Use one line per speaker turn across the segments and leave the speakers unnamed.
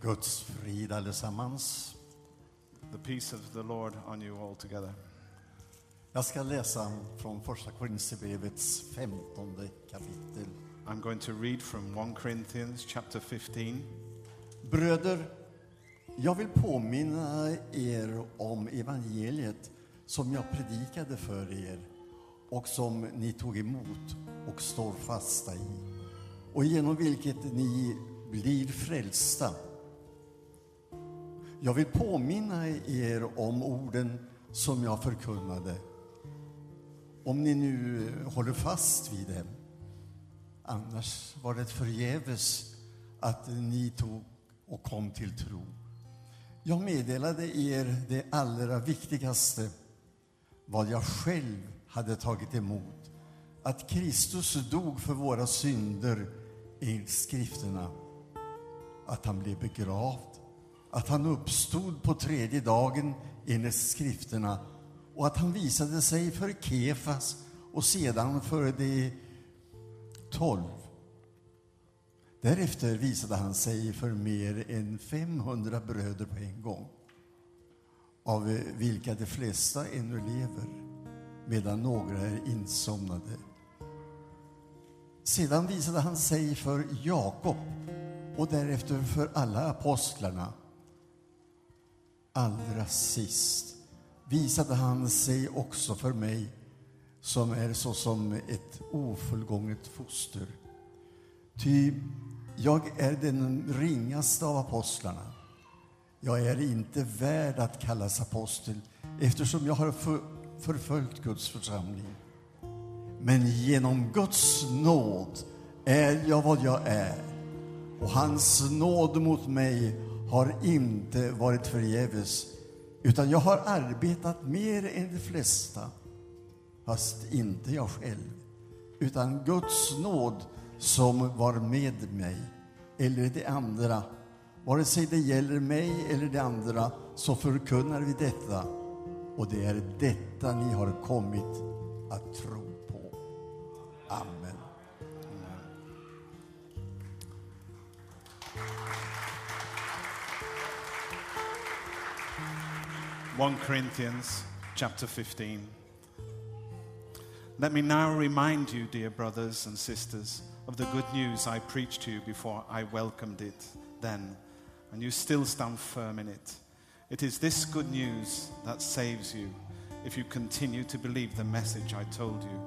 Guds frid allesammans.
The peace of the Lord on you all together.
Jag ska läsa från första Korinthierbrevets 15 kapitel.
I'm going to read from 1 Corinthians chapter 15.
Bröder, jag vill påminna er om evangeliet som jag predikade för er och som ni tog emot och står fasta i och genom vilket ni blir frälsta. Jag vill påminna er om orden som jag förkunnade om ni nu håller fast vid dem. Annars var det förgäves att ni tog och kom till tro. Jag meddelade er det allra viktigaste, vad jag själv hade tagit emot, att Kristus dog för våra synder enligt skrifterna, att han blev begravd, att han uppstod på tredje dagen enligt skrifterna och att han visade sig för Kefas och sedan för de tolv. Därefter visade han sig för mer än 500 bröder på en gång av eh, vilka de flesta ännu lever, medan några är insomnade. Sedan visade han sig för Jakob och därefter för alla apostlarna. Allra sist visade han sig också för mig som är såsom ett ofullgånget foster. Ty jag är den ringaste av apostlarna. Jag är inte värd att kallas apostel eftersom jag har för, förföljt Guds församling. Men genom Guds nåd är jag vad jag är och hans nåd mot mig har inte varit förgäves utan jag har arbetat mer än de flesta fast inte jag själv utan Guds nåd som var med mig eller det andra. Vare sig det gäller mig eller det andra så förkunnar vi detta och det är detta ni har kommit att tro på. Amen.
Amen. 1 Corinthians chapter 15. Let me now remind you, dear brothers and sisters, of the good news I preached to you before I welcomed it then, and you still stand firm in it. It is this good news that saves you if you continue to believe the message I told you,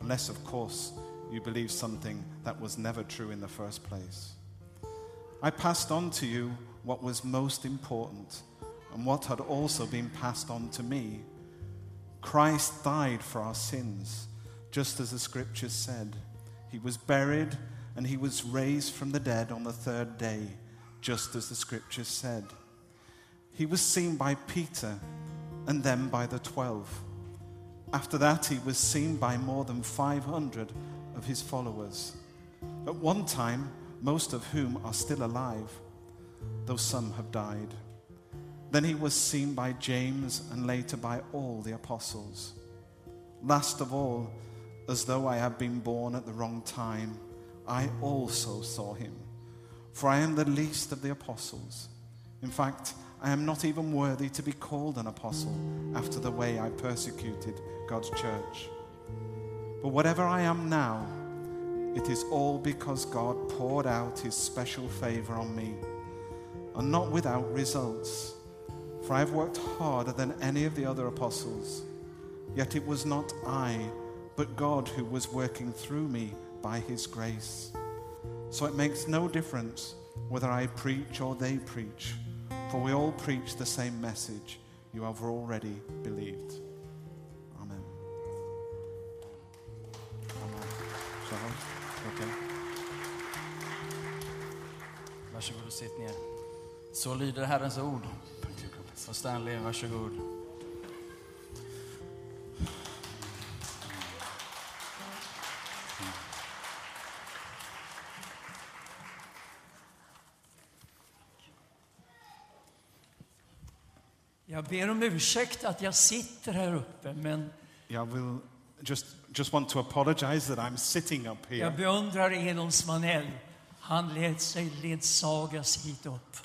unless, of course, you believe something that was never true in the first place. I passed on to you what was most important and what had also been passed on to me. Christ died for our sins, just as the scriptures said. He was buried and he was raised from the dead on the third day, just as the scriptures said. He was seen by Peter and then by the twelve. After that, he was seen by more than 500 of his followers, at one time, most of whom are still alive, though some have died. Then he was seen by James and later by all the apostles. Last of all, as though I had been born at the wrong time, I also saw him. For I am the least of the apostles. In fact, I am not even worthy to be called an apostle after the way I persecuted God's church. But whatever I am now, it is all because God poured out his special favor on me, and not without results. For I have worked harder than any of the other apostles. Yet it was not I, but God who was working through me by his grace. So it makes no difference whether I preach or they preach, for we all preach the same message you have already believed. Amen. Amen. Shall I? Okay.
Varsågod och sitt ner. Så lyder Herrens ord. Och Stanley, varsågod.
Jag ber om ursäkt att jag sitter här uppe, men
Yeah, I will just just want to apologize that I'm sitting up
jag
here.
beundrar Elon Smanell. Han lät sig ledsagas hit upp.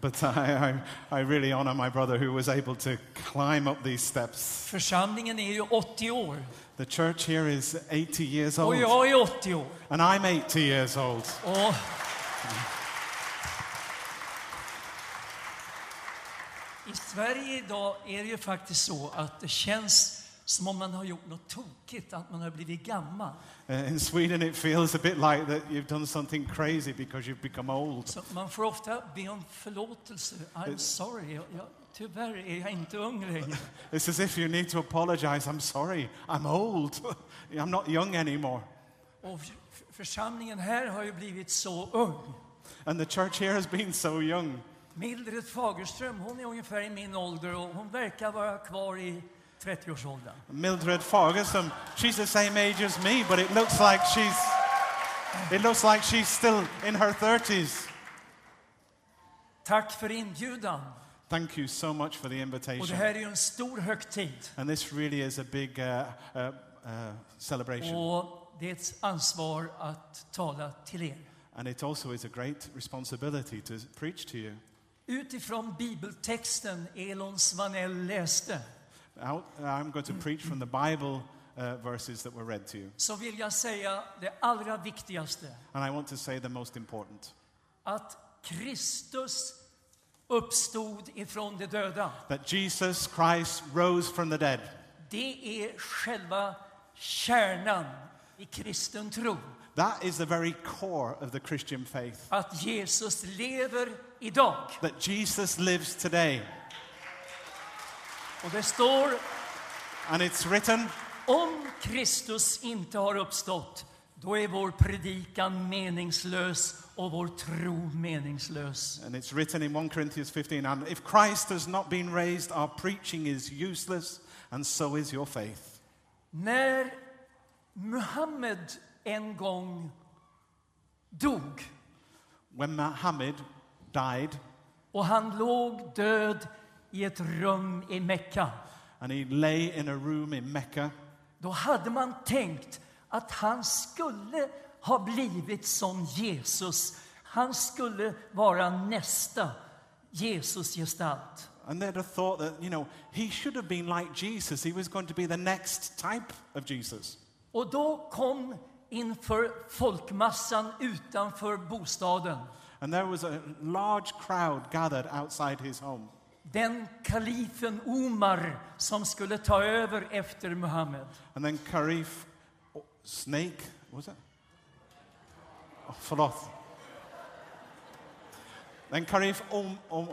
But I, I, I really honor my brother who was able to climb up these steps.
Församlingen är ju 80 år
The church here is 80 years
och
old,
jag är 80 år.
and I'm 80 years old.
Och I Sverige idag är det ju faktiskt så att det känns som om man har gjort något tokigt, att man har blivit gammal.
Uh, in Sweden, it feels a bit like that you've done something crazy because you've become old.
Så man får ofta be om förlåtelse. I'm sorry, jag, jag, tyvärr är jag inte ung längre.
It's as if you need to apologize. I'm sorry, I'm old. I'm not young anymore.
Och f- församlingen här har ju blivit så ung.
And the church here has been so young.
Mildred Fagerström, hon är ungefär i min ålder och hon verkar vara kvar i 30-årsåldern.
Mildred Fargerson, she's the same age as me, but it looks like she's it looks like she's still in her 30s.
Tack för inbjudan.
Thank you so much for the
Och det
invitation.
här är ju en stor högtid.
And this really is a big uh, uh, uh, celebration.
Och det är ett ansvar att tala till er.
And it also is a great responsibility to preach to you.
Utifrån bibeltexten Elon Svanell läste
Out, I'm going to preach from the Bible uh, verses that were read to you.
så vill jag säga det allra viktigaste.
And I want to say the most important
Att Kristus uppstod ifrån de döda.
that Jesus Christ rose from the dead.
Det är själva kärnan i kristen tro.
That is the very core of the Christian faith.
Att Jesus lever idag.
That Jesus lives today.
Och det står
And it's written,
Om Kristus inte har uppstått, då är vår predikan meningslös och vår tro meningslös.
and it's written in 1 Corinthians 15, and if Christ has not been raised, our preaching is useless, and so is your faith.
När Muhammed en gång dog
When Muhammad died
och han låg död i ett rum i Mekka,
and he lay in a room in Mecca,
då hade man tänkt att han skulle ha blivit som Jesus. Han skulle vara nästa Jesus-gestalt.
and they'd have thought that, you know, he should have been like Jesus. He was going to be the next type of Jesus.
Och då kom inför folkmassan utanför bostaden
And there was a large crowd gathered outside his home.
den kalifen Omar som skulle ta över efter Muhammed.
And then Karif, oh, Snake, what was it? Oh, Faloth. Then Karif Om, Om,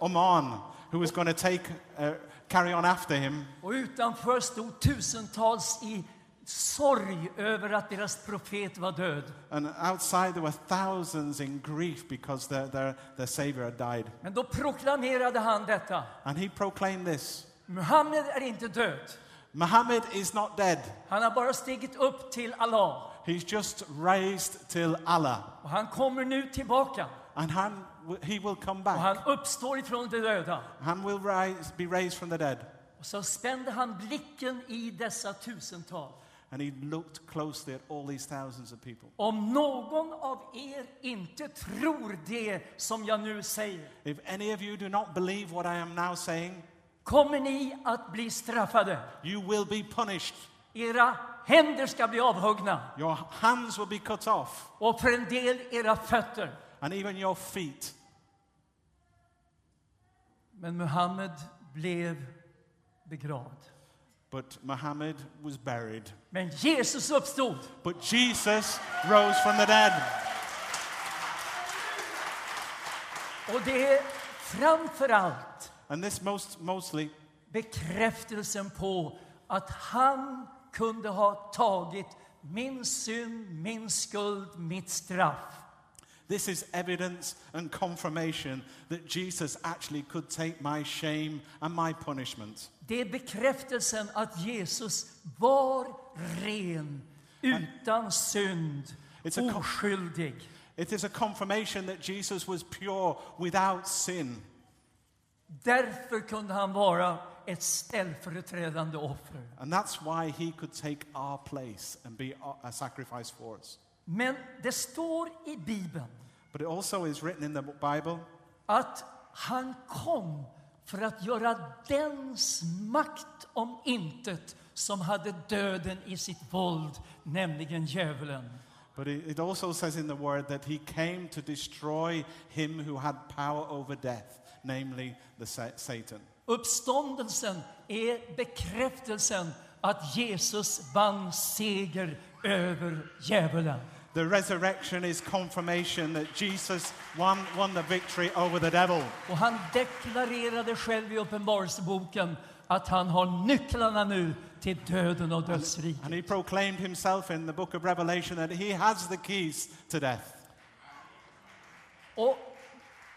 Oman, who was going to take, uh, carry on after him.
Och utanför stod tusentals i sorg över att deras profet var död.
And outside there were thousands in grief because their, their, their savior had died.
Men då proklamerade han detta.
And he proclaimed this
Muhammed är inte död.
Muhammad is not dead.
Han har bara stigit upp till Allah.
He's just raised till Allah.
Och han kommer nu tillbaka.
And han, w- he will come
Och
back.
han uppstår ifrån de döda.
Han will rise, be raised from the dead.
Och så spände han blicken i dessa tusental.
And he looked closely at all these thousands of people.
Om någon av er inte tror det som jag nu säger,
If any of you do not believe what I am now saying,
kommer ni att bli straffade.
you will be punished.
Era händer ska bli avhuggna
Your hands will be cut off,
och för en del era fötter.
and even your feet.
Men Muhammed blev begravd.
But Muhammad was buried.
Men Jesus uppstod.
But Jesus rose from the dead.
Och det är framför allt
And this most mostly
bekräftelsen på att han kunde ha tagit min synd, min skuld, mitt straff.
this is evidence and confirmation that Jesus actually could take my shame and my punishment.
Det är bekräftelsen att Jesus var ren, utan synd,
It's a co-
oskyldig.
It is a confirmation that Jesus was pure without sin.
Därför kunde han vara ett ställföreträdande offer.
And that's why he could take our place and be a- a sacrifice for us.
Men det står i Bibeln
But it also is written in the Bible
att han kom för att göra dens makt om intet som hade döden i sitt våld, nämligen djävulen.
But it it also says in the word that he came to destroy him who had power over death, namely the sa- Satan.
Uppståndelsen är bekräftelsen att Jesus vann seger över djävulen.
The resurrection is confirmation that Jesus won, won the victory over the devil.
Och han deklarerade själv i Uppenbarelseboken att han har nycklarna nu till döden och dödsriket.
And he proclaimed himself in the book of Revelation that he has the keys to death.
Och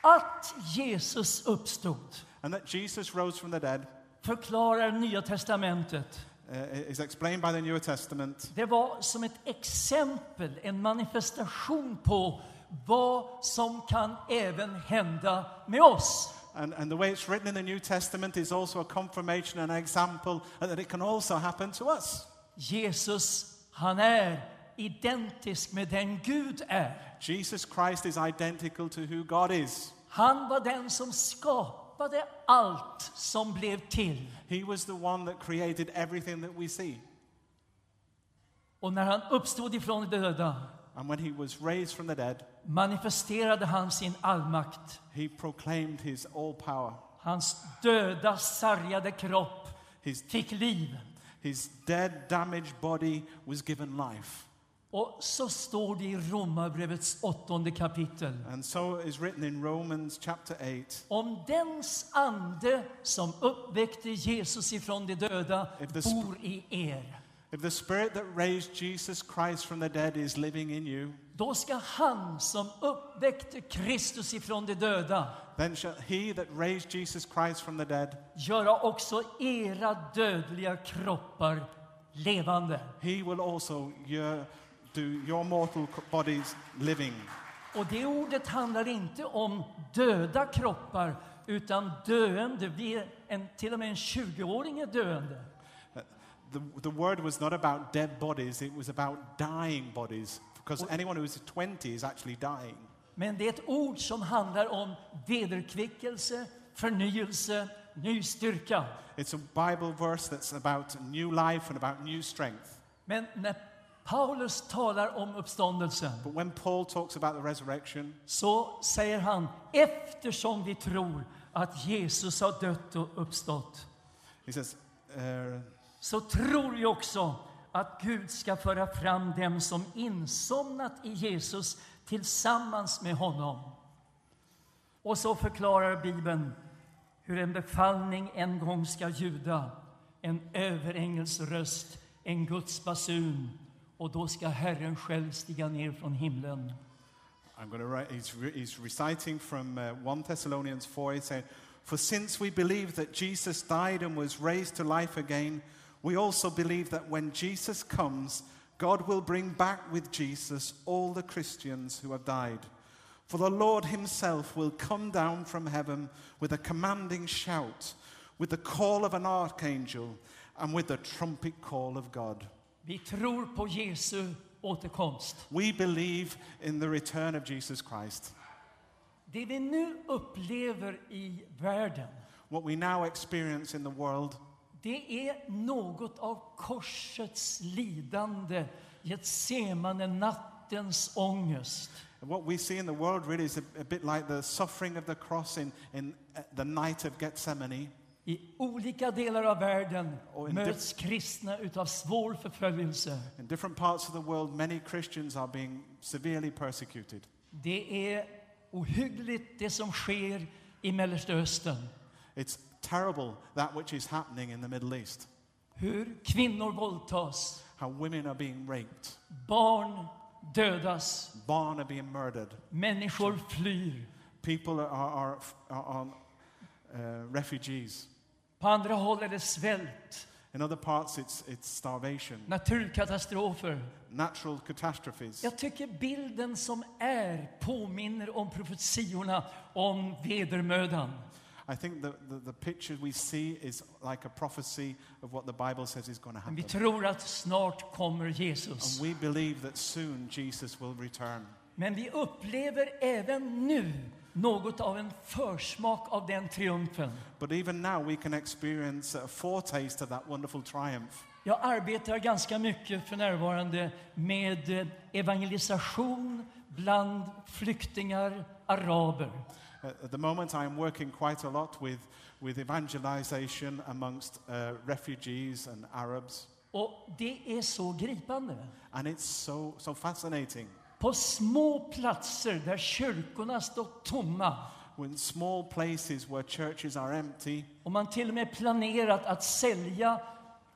att Jesus uppstod
And that Jesus rose from the dead
förklarar Nya testamentet.
uh, is explained by the New Testament.
Det var som ett exempel, en manifestation på vad som kan även hända med oss.
And, and the way it's written in the New Testament is also a confirmation and an example that it can also happen to us.
Jesus, han är identisk med den Gud är.
Jesus Christ is identical to who God is.
Han var den som skapade allt som blev till.
He was the one that created everything that we see.
Och när han uppstod ifrån de döda
And when he was raised from the dead,
manifesterade han sin allmakt.
he proclaimed his all power.
Hans döda, sargade kropp
His,
fick liv.
his dead, damaged body was given life.
Och så står det i Romarbrevets åttonde kapitel.
And so is written in Romans chapter 8.
Om dens ande som uppväckte Jesus ifrån de döda
If the sp-
bor i er,
If the spirit that raised Jesus Christ from the dead is living in you,
då ska han som uppväckte Kristus ifrån de döda
then shall he that raised Jesus Christ from the dead,
göra också era dödliga kroppar levande.
he will also your, do your mortal c- bodies living.
Och det ordet handlar inte om döda kroppar, utan döende. Vi är en, till och med en 20-åring är döende.
The, the word was not about dead bodies, it was about dying bodies, because anyone who is 20 is actually dying.
Men det är ett ord som handlar om vederkvickelse, förnyelse, ny styrka.
It's a Bible verse that's about new life and about new strength.
Men när Paulus talar om uppståndelsen
But when Paul talks about the resurrection,
så säger han eftersom vi tror att Jesus har dött och uppstått
he says, uh,
så tror vi också att Gud ska föra fram dem som insomnat i Jesus tillsammans med honom. Och så förklarar Bibeln hur en befallning en gång ska ljuda, en överängels röst, en Guds basun och då ska Herren själv stiga ner från himlen.
I'm going to write, he's, re- he's reciting from uh, 1 Thessalonians 4. He's saying, For since we believe that Jesus died and was raised to life again, we also believe that when Jesus comes, God will bring back with Jesus all the Christians who have died. For the Lord himself will come down from heaven with a commanding shout, with the call of an archangel, and with the trumpet call of God.
Vi tror på Jesu återkomst.
We believe in the return of Jesus Christ.
Det vi nu upplever i världen,
What we now experience in the world
det är något av korsets lidande, Getsemane nattens ångest.
And What we see in the world really is a, a bit like the suffering of the cross in, in uh, the night of Gethsemane.
I olika delar av världen
Och en
möts kristna utav svår förföljelse.
In different parts of the world, many Christians are being severely persecuted.
Det är ohyggligt det som sker i Mellanöstern.
It's terrible that which is happening in the Middle East,
Hur kvinnor våldtas,
how women are being raped,
barn dödas,
born are being murdered,
människor flyr.
people are, are, are, are uh, refugees.
På andra håll är det svält,
In other parts, it's, it's starvation,
naturkatastrofer.
natural catastrophes.
Jag tycker bilden som är påminner om profetiorna om vedermödan.
I think the, the, the picture we see is like a prophecy of what the Bible says is going to
Men vi
happen.
tror att snart kommer
And
Jesus.
we believe that soon Jesus will return.
Men vi upplever även nu något av en försmak av den triumfen.
But even now, we can experience a foretaste of that wonderful triumph.
Jag arbetar ganska mycket för närvarande med eh, evangelisation bland flyktingar, araber.
Uh, At at the moment, I am working quite a lot with, with evangelization amongst uh, refugees and Arabs.
Och det är så gripande.
And it's so, so fascinating.
På små platser där kyrkorna står tomma
When small places where churches are empty,
och man till och med planerat att sälja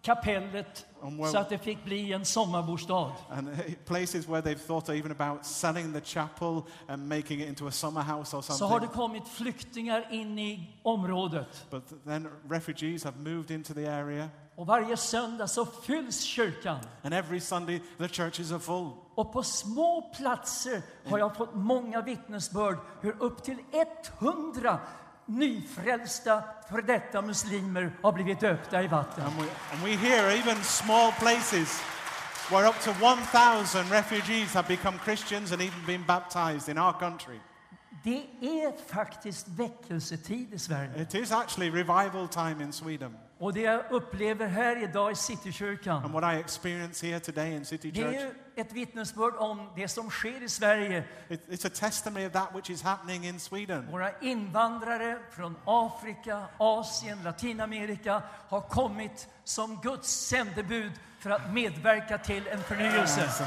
kapellet
Om vår-
så att det fick bli en sommarbostad.
and uh, places where they've thought even about selling the chapel and making it into a summer house or
Så har det
something.
kommit flyktingar in i området.
But then refugees have moved into the area,
Och varje söndag så fylls kyrkan.
and every Sunday the churches are full.
Och på små platser har jag fått många vittnesbörd hur upp till 100 nyfrälsta för detta muslimer har blivit döpta i vatten.
And we, and we hear even small places where up to 1,000 refugees have become Christians and even been baptized in our country.
Det är faktiskt väckelsetid i Sverige.
It is actually revival time in Sweden.
Och det jag upplever här idag i
And
Citykyrkan,
what I experience here today in City
det är
Church,
ju ett vittnesbörd om det som sker i Sverige.
it, it's a testimony of that which is happening in Sweden.
Våra invandrare från Afrika, Asien, Latinamerika har kommit som Guds sändebud för att medverka till en förnyelse.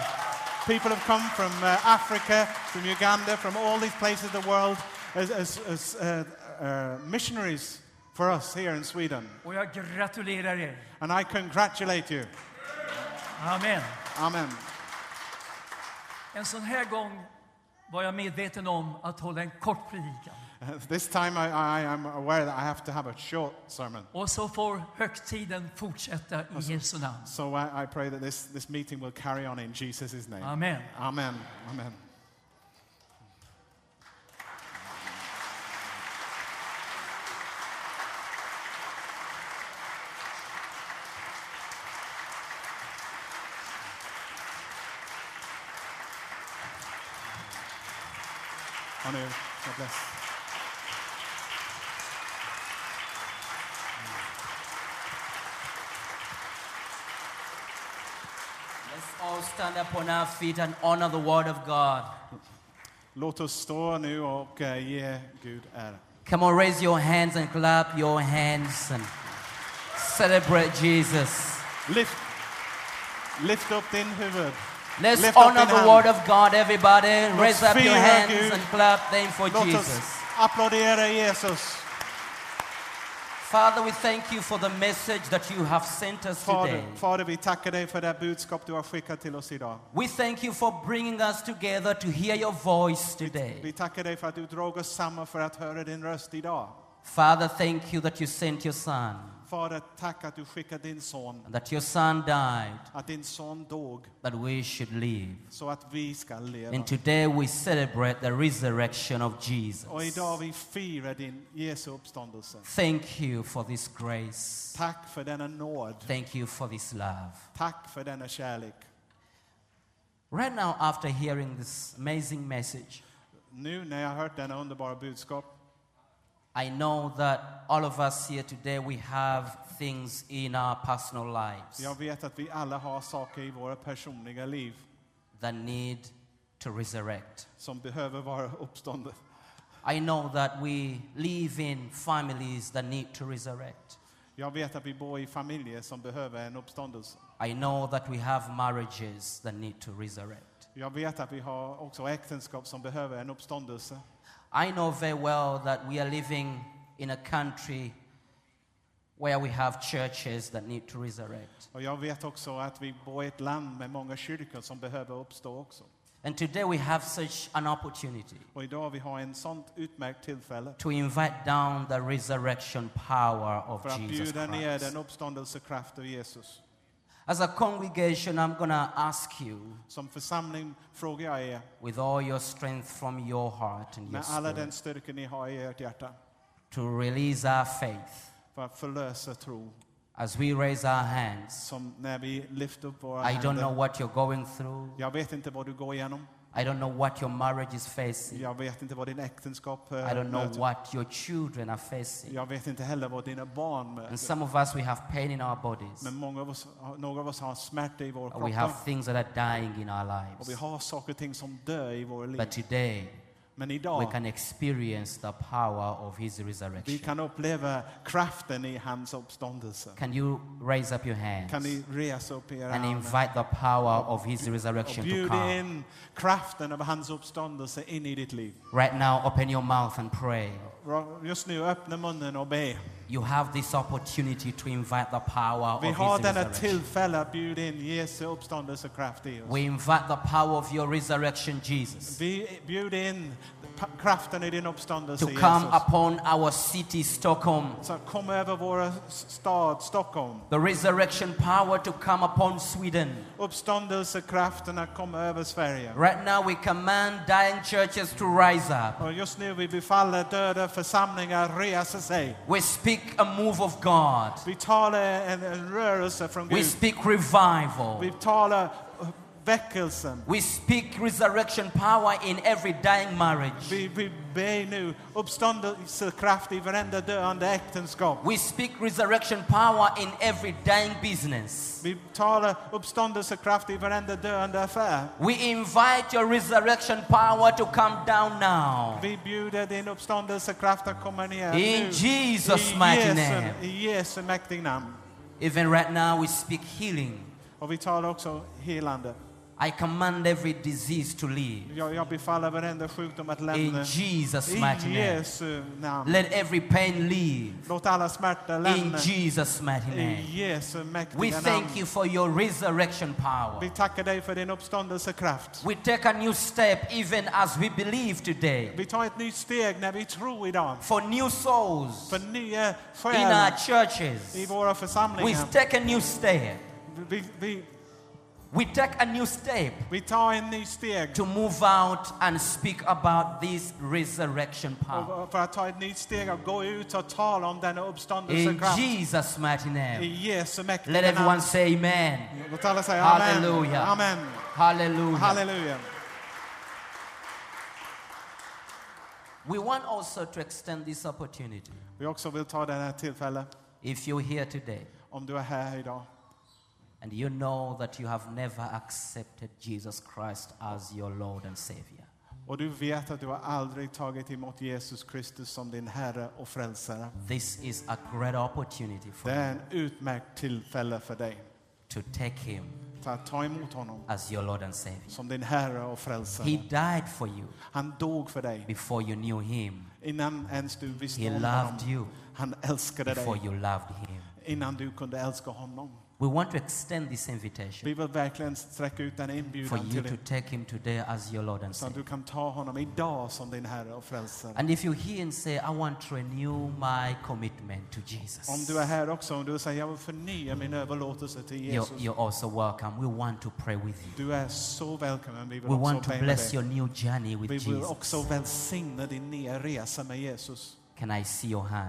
People have come from uh, Africa, from Uganda, from all these places of the world as, as, as uh, uh, missionaries for us here in Sweden.
Och jag gratulerar er.
And I congratulate you.
Amen.
Amen.
En sån här gång var jag medveten om att hålla en kort predikan.
Uh, This time I, I am aware that I have to have a short sermon.
Och så får högtiden fortsätta i Jesu namn.
So I, I pray that this, this meeting will carry on in Jesus' name.
Amen.
Amen. Amen. On you. God bless.
Let's all stand up on our feet and honor the word of God.
Låt oss stå nu och eh, ge Gud ära.
Come on, raise your hands and clap your hands and celebrate Jesus.
Lyft, lyft upp din huvud.
Let's
Lift up
honor
in hand.
the word of God, everybody. raise up your
fira
hands
Gud.
and clap them for
Låt
Jesus.
oss applådera Jesus.
Father, we thank you for the message that you have sent us today.
Fader, Fader, vi tackar dig för det här budskap du har skickat till oss idag.
We thank you for bringing us together to hear your voice
Vi
today.
tackar dig för att du drog oss samman för att höra din röst idag.
Father, thank you that you sent your son,
Fader, tack att du skickade din son,
and that your son died,
att din son dog
that we should live.
så att vi ska leva.
And today we celebrate the resurrection of Jesus.
Och idag vi firar din Jesu uppståndelse.
Thank you for this grace.
Tack för denna nåd.
Thank you for this love.
Tack för denna kärlek.
Right now, after hearing this amazing message,
Nu när jag har hört denna underbara budskap
I know that all of us here today we have things in our personal lives
Jag vet att vi alla har saker i våra personliga liv
that need to resurrect.
som behöver vara uppståndna.
I know that we live in families that need to resurrect.
Jag vet att vi bor i familjer som behöver en uppståndelse.
I know that we have marriages that need to resurrect.
Jag vet att vi har också äktenskap som behöver en uppståndelse.
I know very well that we are living in a country where we have churches that need to resurrect.
Och jag vet också att vi bor i ett land med många kyrkor som behöver uppstå också.
And today we have such an opportunity
Och idag vi har en sånt utmärkt tillfälle
to invite down the resurrection power of
för att
Jesus
bjuda ner
Christ.
den uppståndelsekraft av Jesus.
As a congregation, I'm going to ask you,
Som församling frågar jag er,
with all your strength from your heart and your
med alla
spirit,
den styrka ni har i ert hjärta,
to release our faith
för att förlösa tro.
as we raise our hands.
Som när vi lyfter upp våra
I don't know
händer.
what you're going through.
Jag vet inte vad du går igenom.
I don't know what your marriage is facing.
Jag vet inte vad din äktenskap eh,
I don't know
möter.
what your children are facing.
Jag vet inte heller vad dina barn
And
möter.
some of us, we have pain in our bodies.
Men många av oss, har- några av oss har smärta i våra
Or we have
kroppar.
things that are dying in our
Och vi
lives.
har saker och ting som dör i våra liv.
But today,
Men
we
idag,
can experience the power of His
vi
resurrection.
kan uppleva kraften i hans uppståndelse.
Can you raise up your
Kan
hands
ni resa upp era
and
armar
invite the power of His
och
resurrection to
bjud
come?
in kraften av hans uppståndelse in i ditt liv.
Right now, open your mouth and pray.
Ra- Just nu, öppna munnen och be.
You have this opportunity to invite the power
Vi har
of His
denna
resurrection.
tillfälle att bjuda in Jesu uppståndelsekraft i oss.
We invite the power of your resurrection, Jesus,
Vi bjuder in pa- kraften i din uppståndelse
to come
Jesus.
upon our city, Stockholm.
Så kom över vår stad Stockholm.
The resurrection power to come upon Sweden.
Uppståndelsekrafterna kom över Sverige.
Right now, we command dying churches to rise up.
Och just nu vi befaller döda församlingar resa sig.
We speak a move of God.
Vi talar en, en rörelse från
We
Gud.
speak revival.
Vi talar eh, väckelsen.
We speak resurrection power in every dying marriage.
Vi, vi ber nu uppståndelsekraft i varenda döende äktenskap.
We speak resurrection power in every dying business.
Vi talar uppståndelsekraft i varenda döende affär.
We invite your resurrection power to come down now.
Vi bjuder din uppståndelsekraft att komma ner
In
nu.
Jesus'
I
mighty
Jesu-
name.
I Jesu mäktiga namn.
Even right now, we speak healing.
Och vi talar också helande.
I command every disease to leave.
Jag, jag befaller varenda sjukdom att lämna.
In
E-
Jesus' mighty
I
name.
Jesu namn.
Let every pain leave.
Låt alla smärta
In
lämna.
Jesus' mighty
I
name.
Jesu
We
mäktiga
thank you
namn.
for your resurrection power.
Vi tackar dig för din uppståndelsekraft.
We take a new step even as we believe today
Vi tar ett nytt steg när vi tror idag.
for new souls
För nya
in our
själar i
churches.
våra
We
församlingar.
take a new step.
Vi, vi,
We take a new step
vi tar en ny steg.
to move out and speak about this resurrection power.
Och för att ta ett nytt steg och gå ut och tala om denna
In
uppståndelsekraft
Jesus' mighty name.
i Jesu mäktiga
Let everyone
namn.
say amen.
Låt alla säga amen.
Halleluja.
Amen.
Hallelujah.
Halleluja.
We want also to extend this opportunity.
Vi också vill ta det här tillfället,
If you're here today
om du är här idag
and you know that you have never accepted Jesus Christ as your Lord and Savior,
och du vet att du har aldrig tagit emot Jesus Kristus som din Herre och Frälsare.
This is a great opportunity for
Det
you
är en utmärkt tillfälle för dig
to take him
för att ta emot honom
as your Lord and Savior.
som din Herre och
He
Frälsare.
died for you
Han dog för dig
before you knew him,
innan ens du
He
visste om
loved
honom.
you
Han älskade
before
dig
you loved him.
innan du kunde älska honom.
We want to extend this invitation
Vi vill verkligen sträcka ut en
for
inbjudan till
you to
dig
take him today as your Lord and
så att du
Savior.
kan ta honom idag som din Herre och Frälsare.
And if you're here and say, I want to renew my commitment to
Om
Jesus,
du är här också, om du säger jag vill förnya min överlåtelse till
you're,
Jesus.
you're also welcome. We want to pray with you.
Du är så välkommen. Vi vill
We want
också
to
be med
bless
dig.
your new journey with
Vi vill
Jesus.
också välsigna din nya resa med Jesus.
Can I see your hand?